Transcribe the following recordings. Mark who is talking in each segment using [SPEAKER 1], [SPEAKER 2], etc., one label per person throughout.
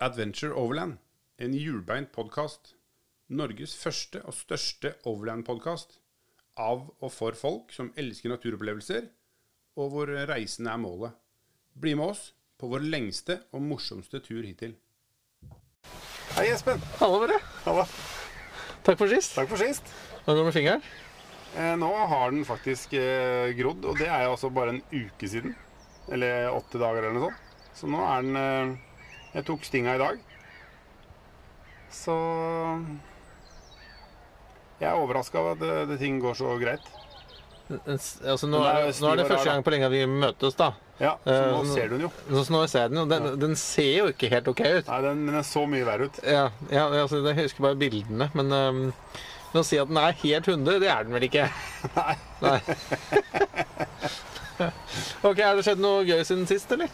[SPEAKER 1] Adventure Overland, en hjulbeint podkast. Norges første og største overland-podkast. Av og for folk som elsker naturopplevelser, og hvor reisen er målet. Bli med oss på vår lengste og morsomste tur hittil.
[SPEAKER 2] Hei, Espen.
[SPEAKER 3] Hallo, dere.
[SPEAKER 2] Halla.
[SPEAKER 3] Takk for sist.
[SPEAKER 2] Takk for sist.
[SPEAKER 3] Hvordan går det med fingeren?
[SPEAKER 2] Eh, nå har den faktisk eh, grodd, og det er jo altså bare en uke siden. Eller åtte dager eller noe sånt. Så nå er den eh, Jeg tok stinga i dag. Så Jeg er overraska over at det, det ting går så greit.
[SPEAKER 3] En s- Altså, nå,
[SPEAKER 2] Den er
[SPEAKER 3] er, det- nå er det
[SPEAKER 2] stiv og rar,
[SPEAKER 3] første
[SPEAKER 2] da.
[SPEAKER 3] gang på lenge vi møtes, da.
[SPEAKER 2] Ja, så
[SPEAKER 3] Eh,
[SPEAKER 2] nå
[SPEAKER 3] nå-
[SPEAKER 2] ser du den jo.
[SPEAKER 3] Så så nå ser jeg den, og den, den ser jo ikke helt OK ut.
[SPEAKER 2] Nei, den, den er så mye verre ut.
[SPEAKER 3] Ja, ja altså, Jeg husker bare bildene, men um, men å si at den er helt hunde, det er den vel ikke?
[SPEAKER 2] Nei.
[SPEAKER 3] Nei. OK, har det skjedd noe gøy siden sist, eller?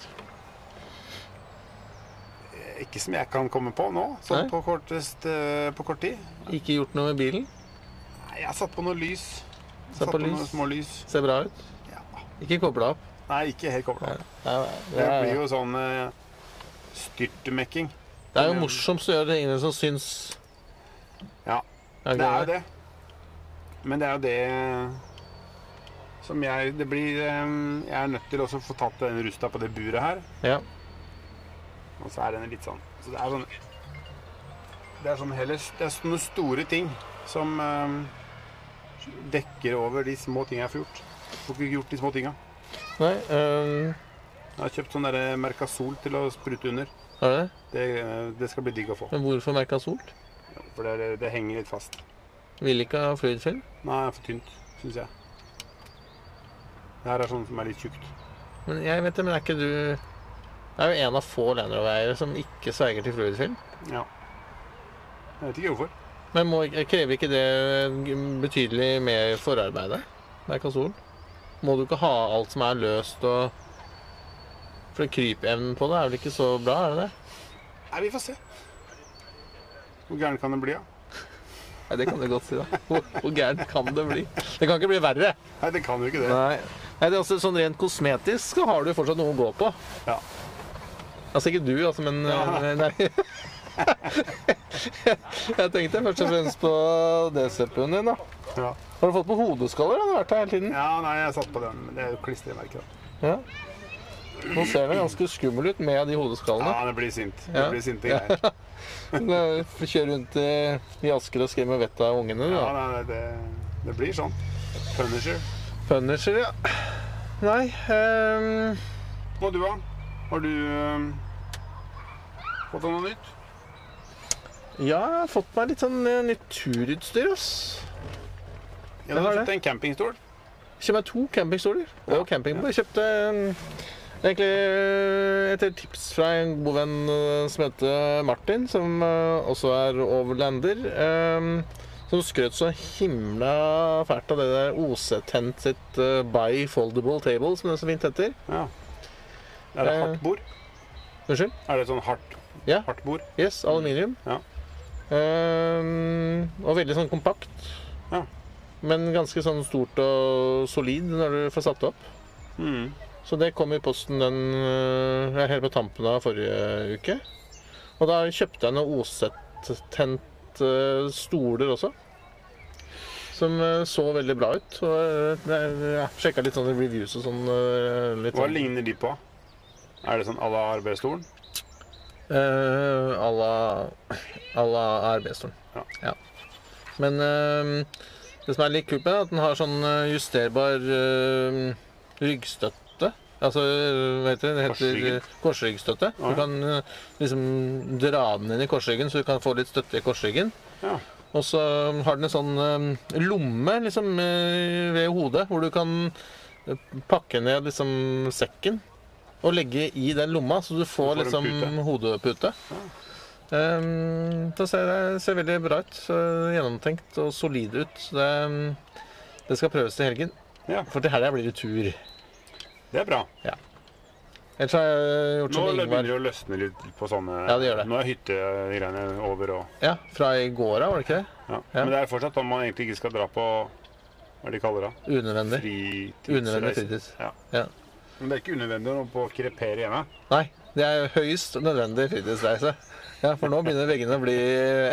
[SPEAKER 2] Ikke som jeg kan komme på nå, sånn
[SPEAKER 3] Nei.
[SPEAKER 2] på, kortest, eh, på kort tid.
[SPEAKER 3] Ikke gjort noe med bilen?
[SPEAKER 2] Nei, jeg har satt på noe lys.
[SPEAKER 3] Satt på
[SPEAKER 2] noen
[SPEAKER 3] lys?
[SPEAKER 2] små lys.
[SPEAKER 3] Ser bra ut?
[SPEAKER 2] Ja.
[SPEAKER 3] Ikke kobla opp?
[SPEAKER 2] Nei, ikke helt kobla.
[SPEAKER 3] Nei, nei,
[SPEAKER 2] Det
[SPEAKER 3] nei.
[SPEAKER 2] blir jo sånn eh, styrtmekking.
[SPEAKER 3] Det er jo morsomst å gjøre tingene som syns.
[SPEAKER 2] Ja,
[SPEAKER 3] Er
[SPEAKER 2] det er jo det. Men det er jo det som jeg Det blir eh, Jeg er nødt til også å få tatt den rusta på det buret her.
[SPEAKER 3] Ja.
[SPEAKER 2] Og så er den litt sånn Så det er sånn Det er sånn heller Det er sånne store ting som eh, dekker over de små tinga jeg får gjort. Får ikke gjort de små tinga.
[SPEAKER 3] Nei, um,
[SPEAKER 2] Jeg har kjøpt sånn derre Mercasol til å sprute under.
[SPEAKER 3] er det det?
[SPEAKER 2] Det, eh, det skal bli digg å få.
[SPEAKER 3] Men hvorfor merka sol?
[SPEAKER 2] For det, er- det henger litt fast.
[SPEAKER 3] Vil ikke ha fluidfilm?
[SPEAKER 2] Nei, for tynt, syns jeg. Det her er sånn som er litt tjukt.
[SPEAKER 3] Men jeg vet det, men er ikke du Det er jo en av få Land Rover-eiere som ikke sverger til fluidfilm.
[SPEAKER 2] Ja. Jeg vet ikke hvorfor.
[SPEAKER 3] Men må, ikke- krever ikke det eh, betydelig mer forarbeid? Merka sol? Må du ikke ha alt som er løst og For krypevnen på det er vel ikke så bra, er det det?
[SPEAKER 2] Nei, vi får se. Hvor gæren kan det bli, da?
[SPEAKER 3] Nei, Det kan du godt si, da. Hvor, hvor gærent kan det bli? Det kan ikke bli verre.
[SPEAKER 2] Nei, det kan jo ikke det.
[SPEAKER 3] Nei. Nei, det er altså Sånn rent kosmetisk så har du fortsatt noe å gå på.
[SPEAKER 2] Ja.
[SPEAKER 3] Altså ikke du, altså, men
[SPEAKER 2] Ja.
[SPEAKER 3] Nei. Jeg tenkte først og fremst på DCP-en din, da.
[SPEAKER 2] Ja.
[SPEAKER 3] Har du fått på hodeskaller? da? Du har vært her hele tiden.
[SPEAKER 2] ja, nei, jeg satt på den. men Det er jo klistremerker. da.
[SPEAKER 3] Ja. Nå ser den ganske skummel ut med de hodeskallene.
[SPEAKER 2] Ja, det blir sint. Det
[SPEAKER 3] Ja.
[SPEAKER 2] blir sinte greier.
[SPEAKER 3] Kjøre rundt i, i Asker og skremme vettet av ungene.
[SPEAKER 2] Ja,
[SPEAKER 3] Du, da.
[SPEAKER 2] nei, nei, det, det blir sånn. Punisher.
[SPEAKER 3] Punisher, ja. Nei ehm,
[SPEAKER 2] Og du, da? Har du ehm, fått noe nytt?
[SPEAKER 3] Ja, jeg har fått meg litt sånn eh, nytt turutstyr, ass.
[SPEAKER 2] Ja,
[SPEAKER 3] Jeg
[SPEAKER 2] du
[SPEAKER 3] har
[SPEAKER 2] har
[SPEAKER 3] det.
[SPEAKER 2] fått en campingstol.
[SPEAKER 3] Kjøpte meg to campingstoler og campingbord. Jeg kjøpte en- egentlig øh, etter tips fra en god venn øh, som heter Martin, som øh, også er overlander. øhm, Som skrøt så himla fælt av det der OC-tent sitt øh, Buy Foldable Table, som det så fint heter.
[SPEAKER 2] Ja. Er det
[SPEAKER 3] Eh.
[SPEAKER 2] hardt bord?
[SPEAKER 3] Unnskyld?
[SPEAKER 2] Er det sånn hardt,
[SPEAKER 3] Ja.
[SPEAKER 2] hardt bord?
[SPEAKER 3] Yes, aluminium.
[SPEAKER 2] Ja.
[SPEAKER 3] Øhm, og veldig sånn kompakt.
[SPEAKER 2] Ja.
[SPEAKER 3] Men ganske sånn stort og solid når du får satt det opp.
[SPEAKER 2] Mm.
[SPEAKER 3] Så det kom i posten den øh, ja, helt på tampen av forrige uke. Og da kjøpte jeg noen Oset-tent øh, stoler også. Som øh, så veldig bra ut. Og øh, jeg ja, sjekka litt sånne reviews og sånn. øh, Litt
[SPEAKER 2] Hva
[SPEAKER 3] sånn
[SPEAKER 2] ligner de på? Er det sånn à la arbeidsstolen?
[SPEAKER 3] øh, à la- à la RB-stolen.
[SPEAKER 2] Ja.
[SPEAKER 3] Men øh, det som er litt kult med den, er at den har sånn øh, justerbar øh, ryggstøtte. Altså, hva heter det? Det heter
[SPEAKER 2] Korsryggen.
[SPEAKER 3] øh, korsryggstøtte.
[SPEAKER 2] Ah,
[SPEAKER 3] Du
[SPEAKER 2] ja.
[SPEAKER 3] kan øh, liksom dra den inn i korsryggen, så du kan få litt støtte i korsryggen.
[SPEAKER 2] Ja.
[SPEAKER 3] Og så har den en sånn øh, lomme liksom øh, ved hodet, hvor du kan øh, pakke ned liksom sekken og legge i den lomma, så du får,
[SPEAKER 2] Du får en
[SPEAKER 3] liksom
[SPEAKER 2] pute.
[SPEAKER 3] hodepute. Um, det ser, det ser veldig bra ut. øh, Gjennomtenkt og solid ut. Så det, um, det skal prøves til helgen.
[SPEAKER 2] Ja.
[SPEAKER 3] For til helga blir det tur.
[SPEAKER 2] Det er bra.
[SPEAKER 3] Ellers har jeg gjort
[SPEAKER 2] Nå
[SPEAKER 3] som
[SPEAKER 2] begynner
[SPEAKER 3] Ingvar
[SPEAKER 2] det å løsne litt på sånne
[SPEAKER 3] Ja, det gjør det.
[SPEAKER 2] Nå er hyttegreiene over og
[SPEAKER 3] ja, fra i går av, var det ikke det?
[SPEAKER 2] ja. Men det er fortsatt sånn man egentlig ikke skal dra på Hva er det de kaller det?
[SPEAKER 3] Unødvendig. Unødvendig
[SPEAKER 2] Fritidsreise.
[SPEAKER 3] fritids.
[SPEAKER 2] Ja.
[SPEAKER 3] Ja.
[SPEAKER 2] Men det er ikke unødvendig å nå på krepere hjemme.
[SPEAKER 3] Nei, Det er høyst nødvendig fritidsreise. Ja, For nå begynner veggene å bli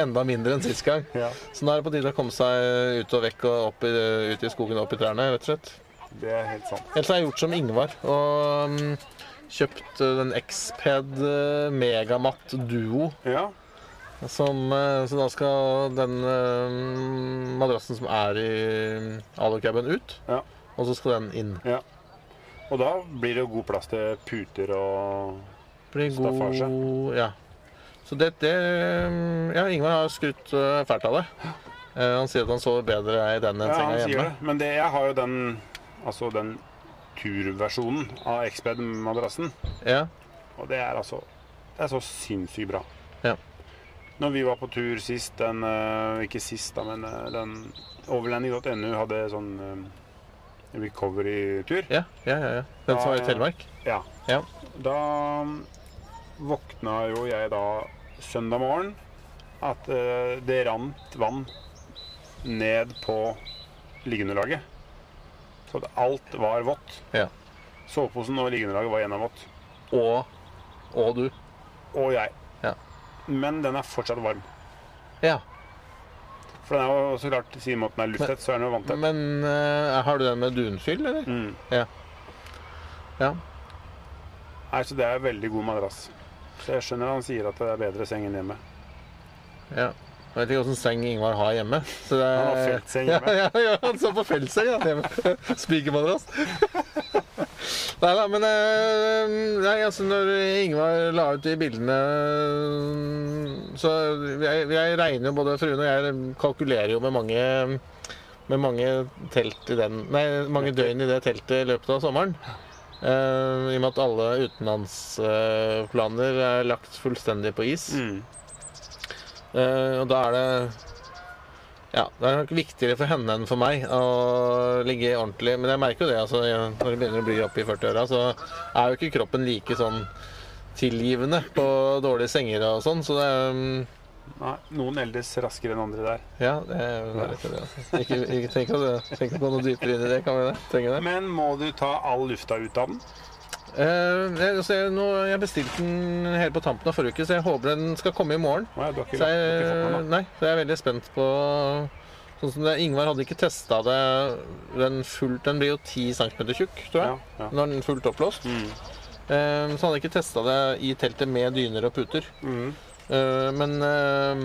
[SPEAKER 3] enda mindre enn sist gang.
[SPEAKER 2] Ja.
[SPEAKER 3] Så nå er det på tide å komme seg ut og vekk og opp i, ut i skogen og opp i trærne, rett og slett.
[SPEAKER 2] Det er helt sant.
[SPEAKER 3] Ellers har jeg gjort som Ingvar og mm, kjøpt eh, den Xped eh, Megamatt Duo.
[SPEAKER 2] Ja.
[SPEAKER 3] Som, eh, så da skal den eh, madrassen som er i alucaben, ut.
[SPEAKER 2] Ja.
[SPEAKER 3] Og så skal den inn.
[SPEAKER 2] ja. Og da blir det jo god plass til puter og
[SPEAKER 3] Blir god
[SPEAKER 2] Staffasje.
[SPEAKER 3] Ja. Så det, det mm, Ja, Ingvar har skrutt eh, fælt av det. Eh, han sier at han sover bedre i den enn
[SPEAKER 2] Ja, han
[SPEAKER 3] senga
[SPEAKER 2] sier
[SPEAKER 3] hjemme.
[SPEAKER 2] det. Men det, jeg har jo den, altså den turversjonen av Xped-madrassen.
[SPEAKER 3] Ja.
[SPEAKER 2] Og det er altså Det er så sinnssykt bra.
[SPEAKER 3] Ja.
[SPEAKER 2] Når vi var på tur sist, den eh, Ikke sist, da, men eh, den Overlanding.nu hadde sånn eh, recovery-tur.
[SPEAKER 3] Ja, ja, ja, ja. Den som
[SPEAKER 2] Ja,
[SPEAKER 3] var i
[SPEAKER 2] ja.
[SPEAKER 3] Telemark?
[SPEAKER 2] Ja.
[SPEAKER 3] Ja.
[SPEAKER 2] Da mm, våkna jo jeg da søndag morgen at eh, det rant vann ned på liggeunderlaget. Så at alt var vått.
[SPEAKER 3] Ja.
[SPEAKER 2] Soveposen og liggeunderlaget var gjennomvått.
[SPEAKER 3] Og, og du.
[SPEAKER 2] Og jeg.
[SPEAKER 3] Ja.
[SPEAKER 2] Men den er fortsatt varm.
[SPEAKER 3] Ja.
[SPEAKER 2] For den er jo så klart, siden måten er lufttett, så er den jo vanntett.
[SPEAKER 3] Men eh, har du den med dunfyll, eller?
[SPEAKER 2] Mm.
[SPEAKER 3] Ja.
[SPEAKER 2] Nei, så det er veldig god madrass. Så jeg skjønner han sier at det er bedre seng enn hjemme.
[SPEAKER 3] Ja. Jeg vet ikke åssen seng Ingvar har hjemme. Så det
[SPEAKER 2] Han har feltseng hjemme.
[SPEAKER 3] Ja, ja, ja, han sov på feltseng ja, hjemme. Spikermadrass. Nei da, men eh, nei, altså, når Ingvar la ut de bildene Så jeg, jeg regner jo både fruen og jeg kalkulerer jo med mange med mange telt i den Nei, mange døgn i det teltet i løpet av sommeren. Eh, I og med at alle utenlandsplaner er lagt fullstendig på is.
[SPEAKER 2] Mm.
[SPEAKER 3] Eh, og da er det Ja, det er nok viktigere for henne enn for meg å ligge ordentlig. Men jeg merker jo det, altså, jeg- når det begynner å bli opp i 40-åra, så er jo ikke kroppen like sånn tilgivende på dårlige senger og sånn, så det mm,
[SPEAKER 2] Nei, noen eldes raskere enn andre der.
[SPEAKER 3] Ja, det er litt det, altså. Ikke, ikke, tenk, å, tenk å gå noe dypere inn i det, kan vi det? Trenger det?
[SPEAKER 2] Men må du ta all lufta ut av den?
[SPEAKER 3] Eh, jeg, altså, jeg, nå, jeg bestilte den helt på tampen av forrige uke, så jeg håper den skal komme i morgen.
[SPEAKER 2] Nei, du har ikke,
[SPEAKER 3] Så
[SPEAKER 2] ikke fått
[SPEAKER 3] jeg,
[SPEAKER 2] den, da.
[SPEAKER 3] nei, så jeg er veldig spent på Sånn som det, Ingvar hadde ikke testa det Den, full, den blir jo 10 cm tjukk,
[SPEAKER 2] Ja,
[SPEAKER 3] tror
[SPEAKER 2] Mm.
[SPEAKER 3] jeg.
[SPEAKER 2] ja.
[SPEAKER 3] Når den er fullt oppblåst. Eh, så han hadde ikke testa det i teltet med dyner og puter.
[SPEAKER 2] Mm.
[SPEAKER 3] Eh, men eh,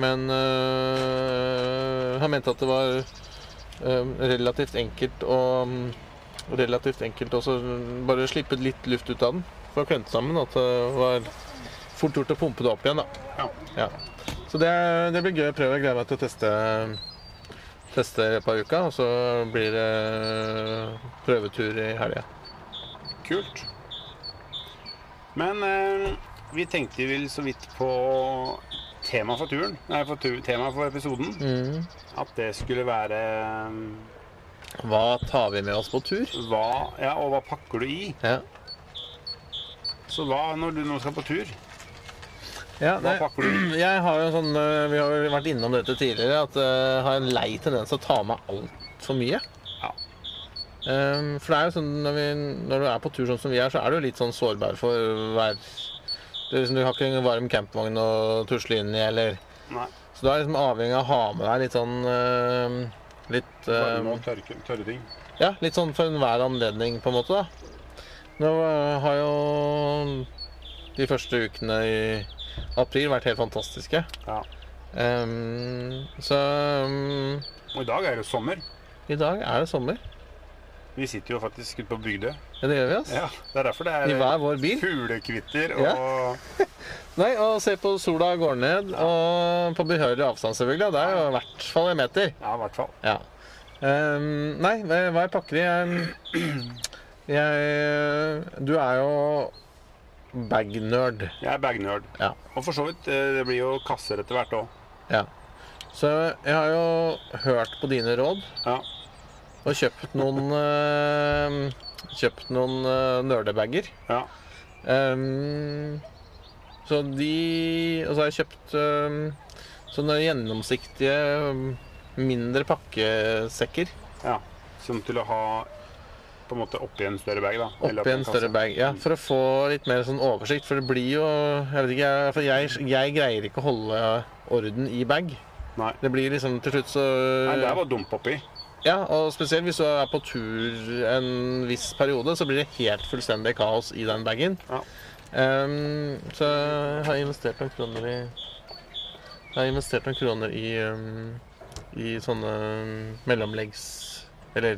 [SPEAKER 3] men eh, han mente at det var eh, relativt enkelt å Relativt enkelt også bare slippe litt luft ut av den. For å klente sammen. At det var fort gjort å pumpe det opp igjen, da.
[SPEAKER 2] Ja.
[SPEAKER 3] Ja. Så det, det blir gøy å prøve. Jeg gleder meg til å teste Teste i løpet av uka. Og så blir det eh, prøvetur i helga.
[SPEAKER 2] Kult. Men eh, vi tenkte vel så vidt på temaet for turen, nei, for tur, temaet for episoden.
[SPEAKER 3] Mm.
[SPEAKER 2] At det skulle være eh,
[SPEAKER 3] Hva tar vi med oss på tur?
[SPEAKER 2] hva Ja, og hva pakker du i?
[SPEAKER 3] Ja.
[SPEAKER 2] Så hva når du nå skal på tur?
[SPEAKER 3] Ja, nei,
[SPEAKER 2] pakker du
[SPEAKER 3] jeg har jo en sånn øh, Vi har jo vært innom dette tidligere. At øh, jeg har en lei tendens til å ta med altfor mye.
[SPEAKER 2] Ja.
[SPEAKER 3] Ehm, for det er jo sånn når, vi, når du er på tur sånn som vi er, så er du jo litt sånn sårbar for hver det er liksom, Du har ikke en varm campvogn å tusle inn i, eller
[SPEAKER 2] Nei,
[SPEAKER 3] Så du er liksom avhengig av å ha med deg litt sånn øh, Litt
[SPEAKER 2] bare
[SPEAKER 3] øh,
[SPEAKER 2] noen tørke, tørre ting.
[SPEAKER 3] ja, litt sånn for enhver anledning, på en måte. da. Nå eh, har jo de første ukene i april vært helt fantastiske.
[SPEAKER 2] Ja.
[SPEAKER 3] Ehm, så ehm,
[SPEAKER 2] Og i dag er det jo sommer.
[SPEAKER 3] i dag er det sommer.
[SPEAKER 2] Vi sitter jo faktisk ute på Bygdøy.
[SPEAKER 3] Ja, det gjør vi, altså.
[SPEAKER 2] Ja, det er derfor det
[SPEAKER 3] I
[SPEAKER 2] er
[SPEAKER 3] hver vår bil.
[SPEAKER 2] fuglekvitter og
[SPEAKER 3] Ja. Nei, og se på sola går ned, og på behørig avstand, selvfølgelig. og Det er jo i hvert fall en meter.
[SPEAKER 2] Ja, i hvert fall.
[SPEAKER 3] Ja. Ehm, nei, hva hva jeg pakker i Ehm, Jeg Du er jo bag-nerd.
[SPEAKER 2] Jeg er bagnerd.
[SPEAKER 3] Ja.
[SPEAKER 2] Og for så vidt, eh, det blir jo kasser etter hvert òg.
[SPEAKER 3] Ja. Så jeg har jo hørt på dine råd
[SPEAKER 2] Ja.
[SPEAKER 3] og kjøpt noen øh, Kjøpt noen øh, nerdebager.
[SPEAKER 2] ja.
[SPEAKER 3] Ehm, så de Og så har jeg kjøpt øhm, sånne gjennomsiktige, øhm, mindre pakkesekker.
[SPEAKER 2] ja. Som til å ha på en måte oppi en større bag. da. Eller
[SPEAKER 3] Oppi en
[SPEAKER 2] kasse.
[SPEAKER 3] større bag. Ja, for å få litt mer sånn oversikt. For det blir jo Jeg vet ikke, jeg, for jeg, jeg greier ikke å holde orden i bag.
[SPEAKER 2] Nei.
[SPEAKER 3] Det blir liksom til slutt så
[SPEAKER 2] Nei, der var dump oppi.
[SPEAKER 3] Ja, og spesielt hvis du er på tur en viss periode, så blir det helt fullstendig kaos i den bagen.
[SPEAKER 2] Ja.
[SPEAKER 3] Ehm, så jeg har investert noen kroner i Jeg har investert noen kroner i, ehm, i sånne ehm, mellomleggs... Eller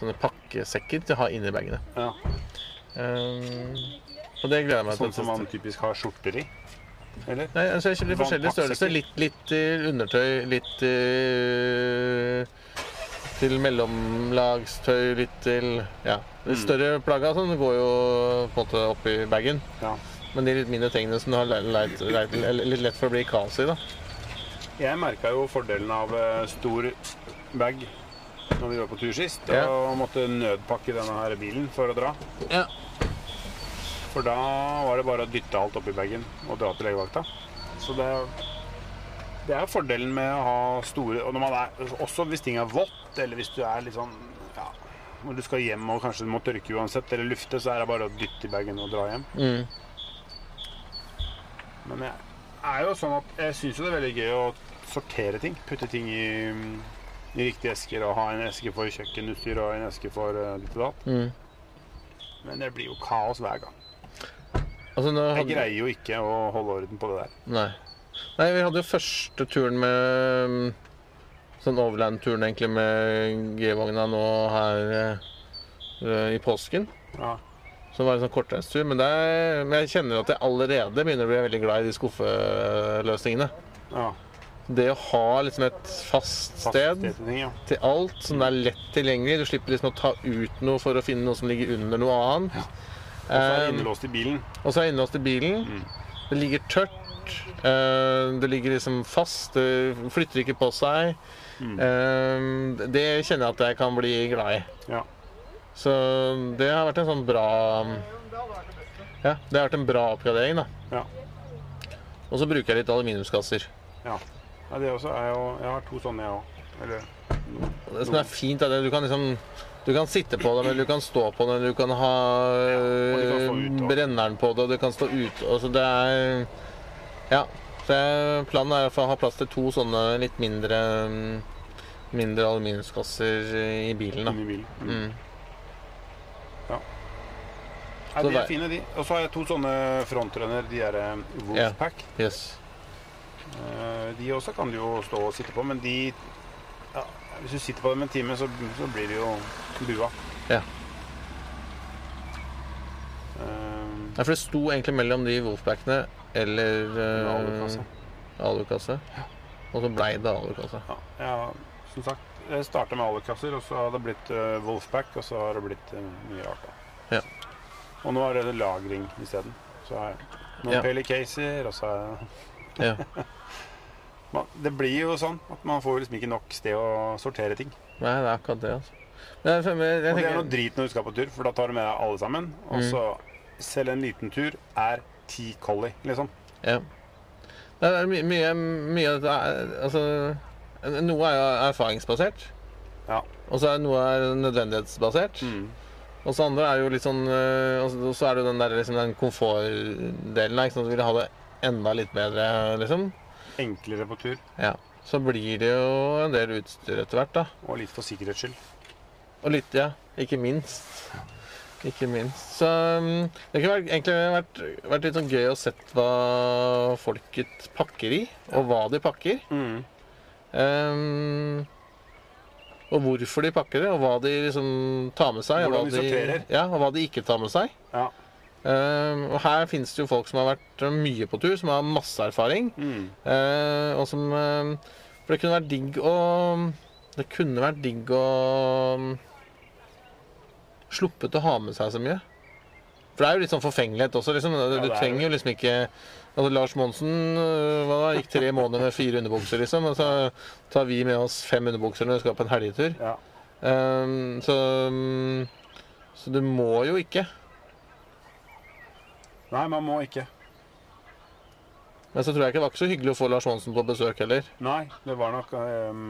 [SPEAKER 3] sånne pakkesekker til å ha inni bagene.
[SPEAKER 2] Ja.
[SPEAKER 3] Ehm, og det gleder jeg meg
[SPEAKER 2] Sånn som
[SPEAKER 3] til.
[SPEAKER 2] man typisk har skjorter i. Eller?
[SPEAKER 3] Nei, altså jeg kjøper i forskjellige
[SPEAKER 2] Vannpakksekker.
[SPEAKER 3] størrelser. Litt, litt til undertøy, litt til, til mellomlagstøy, litt til Ja. De større plagga og sånn går jo på en måte oppi bagen.
[SPEAKER 2] Ja.
[SPEAKER 3] Men de litt mindre tingene som du har leit, leit, leit, eller litt lett for å bli kaos i, da.
[SPEAKER 2] Jeg merka jo fordelen av eh, stor bag når vi var på tur sist,
[SPEAKER 3] Ja.
[SPEAKER 2] og måtte nødpakke denne her bilen for å dra.
[SPEAKER 3] Ja.
[SPEAKER 2] For da var det bare å dytte alt oppi bagen og dra til legevakta. Så det, det er jo fordelen med å ha store Og når man er, også hvis ting er vått, eller hvis du er litt sånn ja, Når du skal hjem og kanskje du må tørke uansett, eller lufte, så er det bare å dytte i bagen og dra hjem.
[SPEAKER 3] Mm.
[SPEAKER 2] Men jeg er jo sånn at jeg syns jo det er veldig gøy å sortere ting. Putte ting i, i riktige esker og ha en eske for kjøkkenutstyr og en eske for eh, ditt og datt.
[SPEAKER 3] Mm.
[SPEAKER 2] Men det blir jo kaos hver gang.
[SPEAKER 3] Altså, nå
[SPEAKER 2] Jeg
[SPEAKER 3] hadde-
[SPEAKER 2] greier jo ikke å holde orden på det der.
[SPEAKER 3] Nei. Nei, vi hadde jo første turen med mm, Sånn overland-turen egentlig med G-vogna nå her eh, i påsken.
[SPEAKER 2] Ja.
[SPEAKER 3] Som var en sånn kortreistur. Men, det er- men jeg kjenner at jeg allerede begynner å bli veldig glad i de skuffeløsningene.
[SPEAKER 2] ja.
[SPEAKER 3] Det å ha liksom et fast sted
[SPEAKER 2] Faste ting, ja.
[SPEAKER 3] til alt, som det er lett tilgjengelig. Du slipper liksom å ta ut noe for å finne noe som ligger under noe annet.
[SPEAKER 2] Og så er det
[SPEAKER 3] Eh,
[SPEAKER 2] innelåst i Mm. bilen.
[SPEAKER 3] og så er jeg innelåst i bilen. Det ligger tørt. eh, det ligger liksom fast. Det flytter ikke på seg.
[SPEAKER 2] Mm.
[SPEAKER 3] Eh, det kjenner jeg at jeg kan bli glad i.
[SPEAKER 2] Ja.
[SPEAKER 3] Så det har vært en sånn bra Ja, det har vært en bra oppgradering, da.
[SPEAKER 2] Ja.
[SPEAKER 3] Og så bruker jeg litt aluminiumskasser.
[SPEAKER 2] ja. ja det også er jo Jeg har to sånne, jeg òg. Eller
[SPEAKER 3] Det som er fint, er at du kan liksom du kan sitte på dem, eller du kan stå på dem, eller du kan ha
[SPEAKER 2] og du kan stå
[SPEAKER 3] øh,
[SPEAKER 2] ute også.
[SPEAKER 3] brenneren på det, og du kan stå ute. Altså, det er Ja. Så jeg- planen er å ha plass til to sånne litt mindre mm, Mindre aluminiumskasser i bilen. da.
[SPEAKER 2] inni bilen. Mm.
[SPEAKER 3] Mm.
[SPEAKER 2] Ja,
[SPEAKER 3] Så
[SPEAKER 2] de
[SPEAKER 3] der-
[SPEAKER 2] er fine, de. Og så har jeg to sånne frontrunner, de der eh, Wolfpack.
[SPEAKER 3] Yes.
[SPEAKER 2] Eh, De også kan du jo stå og sitte på, men de ja, Hvis du sitter på dem en time, så, så blir det jo bua.
[SPEAKER 3] Ja.
[SPEAKER 2] Eh,
[SPEAKER 3] Ja, for det sto egentlig mellom de Wolfpackene eller
[SPEAKER 2] en
[SPEAKER 3] øh,
[SPEAKER 2] alukasse.
[SPEAKER 3] alukasse. Og så blei det alukasse.
[SPEAKER 2] Ja, ja, som sagt, jeg starta med alukasser, og så har det blitt eh, Wolfpack, og så har det blitt eh, mye rart. da.
[SPEAKER 3] Ja.
[SPEAKER 2] Og nå er det lagring isteden. Så er noen
[SPEAKER 3] Ja.
[SPEAKER 2] Pelicaser, og så er
[SPEAKER 3] Ja.
[SPEAKER 2] man, Det blir jo sånn at man får liksom ikke nok sted å sortere ting.
[SPEAKER 3] Nei, det er akkurat det, altså. Men jeg, jeg,
[SPEAKER 2] Og
[SPEAKER 3] jeg,
[SPEAKER 2] det er
[SPEAKER 3] tenker-
[SPEAKER 2] noe drit når du skal på tur, for da tar du med deg alle sammen. Og
[SPEAKER 3] Mm.
[SPEAKER 2] så selv en liten tur er ti collie, liksom.
[SPEAKER 3] Ja. Det er mye, mye, mye av dette er- Altså, noe er jo erfaringsbasert.
[SPEAKER 2] Ja. Mm.
[SPEAKER 3] Og så er noe er nødvendighetsbasert. Og så andre er jo litt sånn øh, Og så- og så er det jo den der liksom den komfortdelen. da, Ikke sant? Du vil ha det enda litt bedre, liksom.
[SPEAKER 2] Enklere på tur,
[SPEAKER 3] Ja. Så blir det jo en del utstyr etter hvert, da.
[SPEAKER 2] og litt for sikkerhets skyld.
[SPEAKER 3] Og litt, ja. Ikke minst. Ikke minst. Så mm, det kunne vært, egentlig vært, vært litt sånn gøy å sett hva folket pakker i, og hva de pakker. Ehm, og hvorfor de pakker det, og hva de liksom tar med seg. og
[SPEAKER 2] Hvordan
[SPEAKER 3] hva
[SPEAKER 2] de sorterer.
[SPEAKER 3] Ja, og hva de ikke tar med seg.
[SPEAKER 2] Ja.
[SPEAKER 3] Ehm, og her finnes det jo folk som har vært mye på tur, som har masse erfaring. Eh, og som eh, For det kunne vært digg å Det kunne vært digg å mm, Sluppet å ha med seg så mye. For det er jo litt sånn forfengelighet også. liksom. Du
[SPEAKER 2] det er
[SPEAKER 3] trenger jo liksom ikke altså Lars Monsen eh, hva da, gikk tre måneder med fire underbukser, liksom. Og så tar vi med oss fem underbukser når vi skal på en helgetur.
[SPEAKER 2] Ja.
[SPEAKER 3] Eh, så, mm, så du må jo ikke.
[SPEAKER 2] Nei, man må ikke.
[SPEAKER 3] Men så tror jeg ikke det var ikke så hyggelig å få Lars Monsen på besøk heller.
[SPEAKER 2] Nei, det var nok ehm,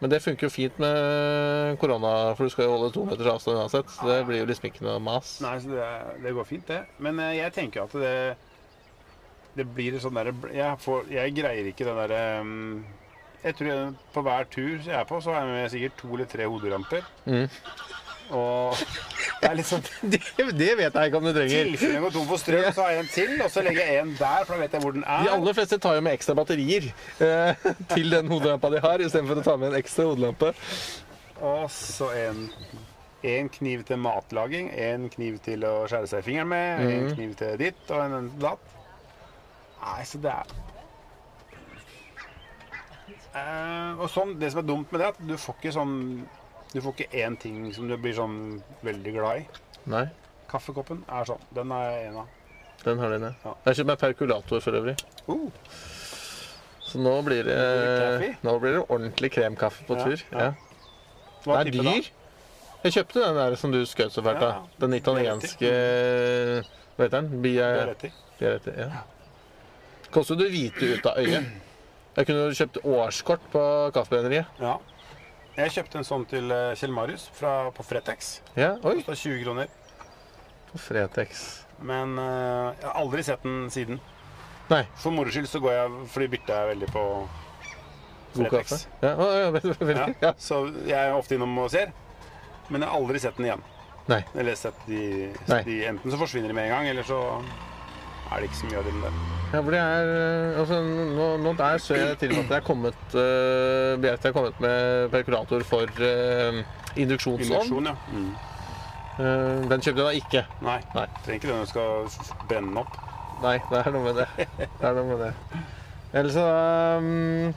[SPEAKER 3] Men det funker jo fint med korona, for du skal jo holde to meters avstand uansett. Så det blir jo liksom ikke noe mas.
[SPEAKER 2] Nei, så det, er- det går fint, det. Men eh, jeg tenker at det Det blir sånn derre jeg, får- jeg greier ikke den derre mm, Jeg tror jeg, på hver tur jeg er på, så har jeg med sikkert to eller tre hoderamper.
[SPEAKER 3] Mm.
[SPEAKER 2] Og det er litt sånn
[SPEAKER 3] Det, det vet jeg ikke om du
[SPEAKER 2] I
[SPEAKER 3] trenger.
[SPEAKER 2] tilfelle jeg går tom for strøm, så har jeg en til, og så legger jeg en der, for da vet jeg hvor den er.
[SPEAKER 3] De aller fleste tar jo med ekstra batterier eh, til den hodelampa de har, istedenfor å ta med en ekstra hodelampe.
[SPEAKER 2] Og så en, en kniv til matlaging, en kniv til å skjære seg i fingeren med,
[SPEAKER 3] Mhm.
[SPEAKER 2] en kniv til ditt og en, en til datt. Nei, så det er Eh, Og sånn, det som er dumt med det, er at du får ikke sånn Du får ikke én ting som du blir sånn veldig glad i.
[SPEAKER 3] Nei,
[SPEAKER 2] Kaffekoppen er sånn. Den er jeg en av.
[SPEAKER 3] den har den, ja.
[SPEAKER 2] Ja.
[SPEAKER 3] Jeg har kjøpt meg perkulator for øvrig.
[SPEAKER 2] Uh,
[SPEAKER 3] Så nå blir det,
[SPEAKER 2] Ordentlig kaffe?
[SPEAKER 3] nå blir det ordentlig kremkaffe på
[SPEAKER 2] Ja,
[SPEAKER 3] tur.
[SPEAKER 2] ja.
[SPEAKER 3] Ja.
[SPEAKER 2] hva
[SPEAKER 3] Den er
[SPEAKER 2] type da?
[SPEAKER 3] dyr. Jeg kjøpte den der som du skjøt så fælt
[SPEAKER 2] Ja,
[SPEAKER 3] av. Den italienske Hva heter den?
[SPEAKER 2] Du har
[SPEAKER 3] Bia...
[SPEAKER 2] rett i.
[SPEAKER 3] Biarete, ja. Koster jo det hvite ut av øyet. Jeg kunne jo kjøpt årskort på Kaffebrenneriet.
[SPEAKER 2] Ja. Jeg kjøpte en sånn til eh, Kjell Marius fra, på Fretex.
[SPEAKER 3] Ja, oi,
[SPEAKER 2] Kosta 20 kroner.
[SPEAKER 3] på Fretex.
[SPEAKER 2] Men eh, jeg har aldri sett den siden.
[SPEAKER 3] Nei.
[SPEAKER 2] For moro skyld så går jeg Fordi bytter jeg veldig på
[SPEAKER 3] God
[SPEAKER 2] Fretex.
[SPEAKER 3] kaffe. Ja, å, ja, vel- vel-
[SPEAKER 2] Ja,
[SPEAKER 3] ja.
[SPEAKER 2] Så jeg er ofte innom og ser. Men jeg har aldri sett den igjen.
[SPEAKER 3] Nei.
[SPEAKER 2] Eller sett de,
[SPEAKER 3] Nei.
[SPEAKER 2] de Enten så forsvinner de med en gang, eller så er det ikke så mye av dem der.
[SPEAKER 3] Ja, for det er eh, altså, nå, nå der ser jeg til og med at det er kommet uh, BRT har kommet med perkulator for eh, induksjonsovn.
[SPEAKER 2] Induksjon, ja. Mm.
[SPEAKER 3] Eh, den kjøpte jeg da ikke.
[SPEAKER 2] Nei.
[SPEAKER 3] Nei.
[SPEAKER 2] Trenger ikke den du skal f- brenne den opp.
[SPEAKER 3] Nei, det er noe med det. Det er noe med det. Ellers så um,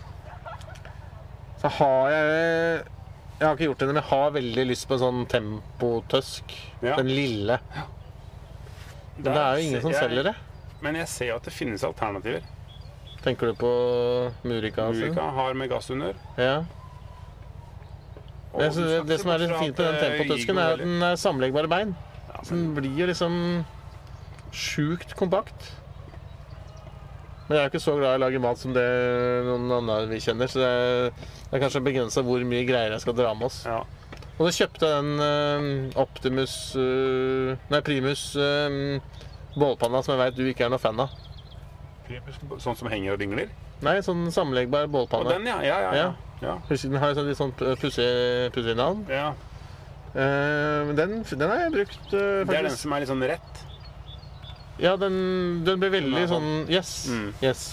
[SPEAKER 3] Så har jeg Jeg har ikke gjort det, men jeg har veldig lyst på en sånn tempotøsk.
[SPEAKER 2] Ja.
[SPEAKER 3] Den lille. Men det er jo ingen som selger det.
[SPEAKER 2] Men jeg ser jo at det finnes alternativer.
[SPEAKER 3] Tenker du på Murica? altså?
[SPEAKER 2] Ulrika har med gass under.
[SPEAKER 3] Ja.
[SPEAKER 2] og
[SPEAKER 3] Jeg synes
[SPEAKER 2] du skal
[SPEAKER 3] det, det
[SPEAKER 2] ikke
[SPEAKER 3] som er
[SPEAKER 2] se
[SPEAKER 3] litt
[SPEAKER 2] bort fra
[SPEAKER 3] fint med den
[SPEAKER 2] at, eh, Igor
[SPEAKER 3] tempotøsken, er at
[SPEAKER 2] heller-
[SPEAKER 3] den er sammenleggbare bein.
[SPEAKER 2] Ja,
[SPEAKER 3] Så den blir jo liksom sjukt kompakt. Men jeg er jo ikke så glad i å lage mat som det noen andre vi kjenner, så det er, det er kanskje begrensa hvor mye greier jeg skal dra med oss.
[SPEAKER 2] Ja.
[SPEAKER 3] Og så kjøpte jeg den eh, Optimus eh, Nei, Primus eh, bålpanna som jeg veit du ikke er noe fan av.
[SPEAKER 2] Sånn som henger og dingler?
[SPEAKER 3] Nei, sånn sammenleggbar
[SPEAKER 2] Og
[SPEAKER 3] bålpanne.
[SPEAKER 2] den, ja. Ja, ja, ja. ja.
[SPEAKER 3] Husker den har jo sånn litt sånn pussig pussig navn.
[SPEAKER 2] ja.
[SPEAKER 3] Eh, men den, den har jeg brukt, eh,
[SPEAKER 2] Det er den
[SPEAKER 3] faktisk.
[SPEAKER 2] som er litt sånn rett.
[SPEAKER 3] Ja, den, den ble veldig
[SPEAKER 2] Den er
[SPEAKER 3] sånn Yes.
[SPEAKER 2] Mm.
[SPEAKER 3] yes.